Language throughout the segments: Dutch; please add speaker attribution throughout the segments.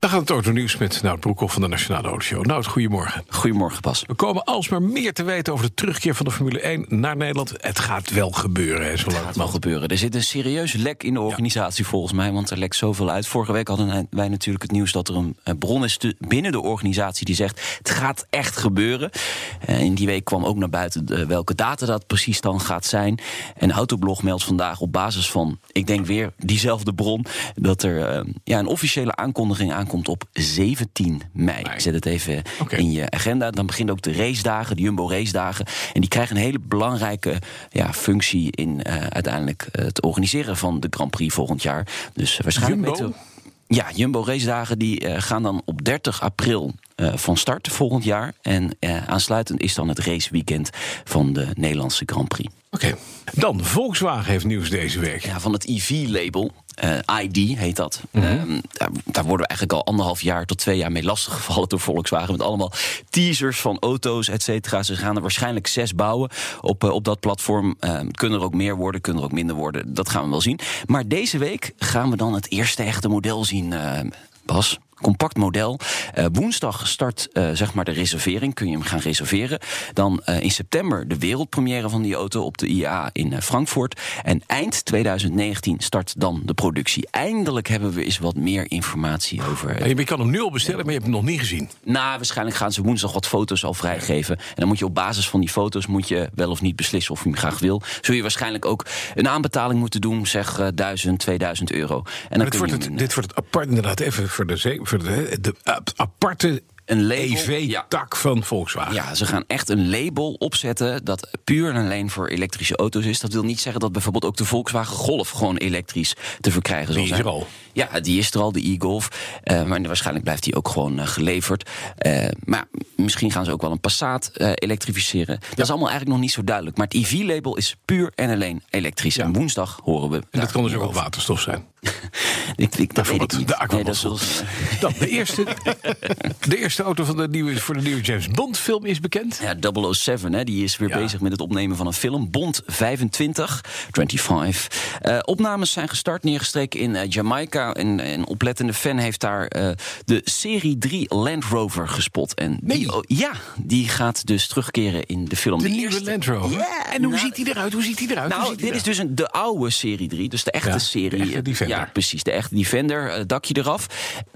Speaker 1: Dan gaat het autonieuws met Nout Broekhoff van de Nationale Autoshow. Nout, goedemorgen.
Speaker 2: Goedemorgen, Bas.
Speaker 1: We komen alsmaar meer te weten over de terugkeer van de Formule 1 naar Nederland. Het gaat wel gebeuren, hè, zolang
Speaker 2: Het gaat wel gebeuren. Er zit een serieus lek in de organisatie volgens mij, want er lekt zoveel uit. Vorige week hadden wij natuurlijk het nieuws dat er een eh, bron is te- binnen de organisatie die zegt: het gaat echt gebeuren. Eh, In die week kwam ook naar buiten eh, welke data dat precies dan gaat zijn. En Autoblog meldt vandaag op basis van, ik denk weer diezelfde bron, dat er eh, ja, een officiële aankondiging aankomt op 17 mei.
Speaker 1: Mei.
Speaker 2: Zet het even
Speaker 1: Oké.
Speaker 2: in je agenda. Dan beginnen ook de racedagen, de Jumbo racedagen, En die krijgen een hele belangrijke ja, functie in eh, uiteindelijk eh, het organiseren van de Grand Prix volgend jaar. Dus eh, waarschijnlijk
Speaker 1: Jumbo?
Speaker 2: weten we- ja, Jumbo racedagen die eh, gaan dan op 30 april eh, van start volgend jaar. En eh, aansluitend is dan het raceweekend van de Nederlandse Grand Prix.
Speaker 1: Oké. Dan, Volkswagen heeft nieuws deze week.
Speaker 2: Ja, van het EV-label. ID heet dat. Ehm, daar, daar worden we eigenlijk al anderhalf jaar tot twee jaar mee lastiggevallen door Volkswagen. Met allemaal teasers van auto's, et cetera. Ze gaan er waarschijnlijk zes bouwen op, eh, op dat platform. Ehm, kunnen er ook meer worden, kunnen er ook minder worden. Dat gaan we wel zien. Maar deze week gaan we dan het eerste echte model zien, eh, Bas. Compact model. Eh, woensdag start eh, zeg maar de reservering. Kun je hem gaan reserveren. Dan eh, in september de wereldpremière van die auto op de IAA in eh, Frankfurt. En eind 2019 start dan de productie. Eindelijk hebben we eens wat meer informatie over. eh,
Speaker 1: En Je kan hem nu al bestellen, maar je hebt hem nog niet gezien.
Speaker 2: nou, waarschijnlijk gaan ze woensdag wat foto's al vrijgeven. En dan moet je op basis van die foto's moet je wel of niet beslissen of je hem graag wil. Zul je waarschijnlijk ook een aanbetaling moeten doen, zeg eh, 1000, 2000 euro. En
Speaker 1: Maar
Speaker 2: dan kun
Speaker 1: dit
Speaker 2: je
Speaker 1: wordt
Speaker 2: hem
Speaker 1: het,
Speaker 2: in-
Speaker 1: dit wordt het apart, inderdaad, even voor de, ze- voor de, de ap- aparte
Speaker 2: Een label,
Speaker 1: EV-tak van Volkswagen.
Speaker 2: Ja, ze gaan echt een label opzetten dat puur en alleen voor elektrische auto's is. Dat wil niet zeggen dat bijvoorbeeld ook de Volkswagen Golf gewoon elektrisch te verkrijgen zal
Speaker 1: Die is
Speaker 2: zijn.
Speaker 1: er al.
Speaker 2: Ja, die is er al, de e-Golf. Eh, maar waarschijnlijk blijft die ook gewoon eh, geleverd. Eh, maar misschien gaan ze ook wel een Passat eh, elektrificeren. Dat is allemaal eigenlijk nog niet zo duidelijk. Maar het EV-label is puur en alleen elektrisch. En woensdag horen we.
Speaker 1: En dat
Speaker 2: daar
Speaker 1: kan dus ook
Speaker 2: meer
Speaker 1: op
Speaker 2: over.
Speaker 1: waterstof zijn.
Speaker 2: Ik, ik, dat weet ik
Speaker 1: Bijvoorbeeld
Speaker 2: niet.
Speaker 1: de
Speaker 2: Nee, dat
Speaker 1: Aquamossel.
Speaker 2: zullen ze-
Speaker 1: Dan, de eerste, de eerste auto van de nieuwe, voor de nieuwe James Bond-film is bekend.
Speaker 2: Ja, 007, hè, die is weer
Speaker 1: Ja.
Speaker 2: bezig met het opnemen van een film. Bond 25, 25. Eh, opnames zijn gestart, neergestreken in eh, Jamaica. En een oplettende fan heeft daar eh, de Serie 3 Land Rover gespot. En die,
Speaker 1: Nee.
Speaker 2: oh, ja, die gaat dus terugkeren in de film.
Speaker 1: De
Speaker 2: De
Speaker 1: nieuwe
Speaker 2: eerste-
Speaker 1: Land Rover.
Speaker 2: Ja,
Speaker 1: en hoe
Speaker 2: nou,
Speaker 1: ziet hij eruit? Hoe ziet hij eruit? Hoe
Speaker 2: nou,
Speaker 1: ziet hij
Speaker 2: dit is
Speaker 1: eruit?
Speaker 2: dus een, de oude serie 3, dus de echte
Speaker 1: Ja, de
Speaker 2: serie.
Speaker 1: echte Defender.
Speaker 2: Ja, precies, de echte Defender, eh, dakje eraf.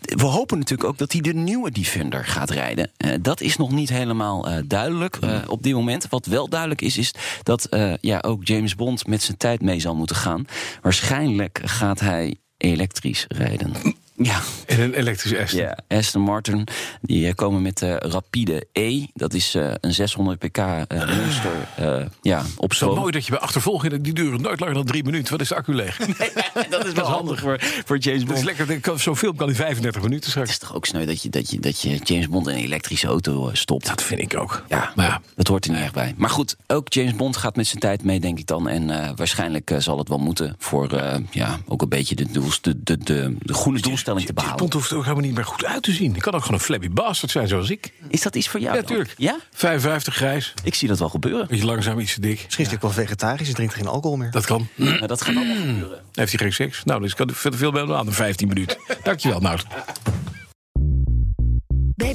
Speaker 2: We hopen natuurlijk ook dat hij de nieuwe Defender gaat rijden. Eh, dat is nog niet helemaal eh, duidelijk eh,
Speaker 1: Hmm.
Speaker 2: op dit moment. Wat wel duidelijk is, is dat eh, ja, ook James Bond met zijn tijd mee zal moeten gaan. Waarschijnlijk gaat hij elektrisch rijden. Ja,
Speaker 3: dus-
Speaker 1: En een elektrische Aston.
Speaker 2: ja, Aston Martin. Die eh, komen met de Rapide E. Dat is eh, een 600 pk eh, monster eh, ja, op
Speaker 1: Zo
Speaker 2: stroom.
Speaker 1: mooi dat je bij achtervolgingen, die duren nooit langer dan drie minuten. Wat is de accu leeg? Dat
Speaker 2: dat is wel handig voor, voor James Bond.
Speaker 1: is lekker, dat kan- zo'n film kan in 35 minuten
Speaker 2: Het
Speaker 1: straks.
Speaker 2: is toch ook sneu dat je, dat, je, dat je James Bond in een elektrische auto eh, stopt.
Speaker 1: Dat vind ik ook.
Speaker 2: Ja,
Speaker 1: Maar ja,
Speaker 2: dat hoort er niet echt bij. Maar goed, ook James Bond gaat met zijn tijd mee, denk ik dan. En eh, waarschijnlijk eh, zal het wel moeten voor eh, ja, ook een beetje de, doels- de, de, de, de goede doelstelling te
Speaker 1: James
Speaker 2: behalen.
Speaker 1: Bond hoeft er ook helemaal niet meer goed uit te zien. Die kan ook gewoon een flabby bastard zijn zoals ik.
Speaker 2: Is dat iets voor jou?
Speaker 1: Ja,
Speaker 2: dan?
Speaker 1: tuurlijk.
Speaker 2: Ja?
Speaker 1: 55 grijs,
Speaker 2: Ik zie dat wel gebeuren.
Speaker 1: beetje langzaam, iets te dik.
Speaker 4: Misschien is hij ook wel vegetarisch, hij drinkt geen alcohol meer.
Speaker 1: Dat kan. Hm,
Speaker 2: Maar dat gaat allemaal gebeuren.
Speaker 1: Heeft hij geen seks? Nou, dus kan veel veel bij aan de 15 minuten. Dankjewel, Nout.
Speaker 5: Bij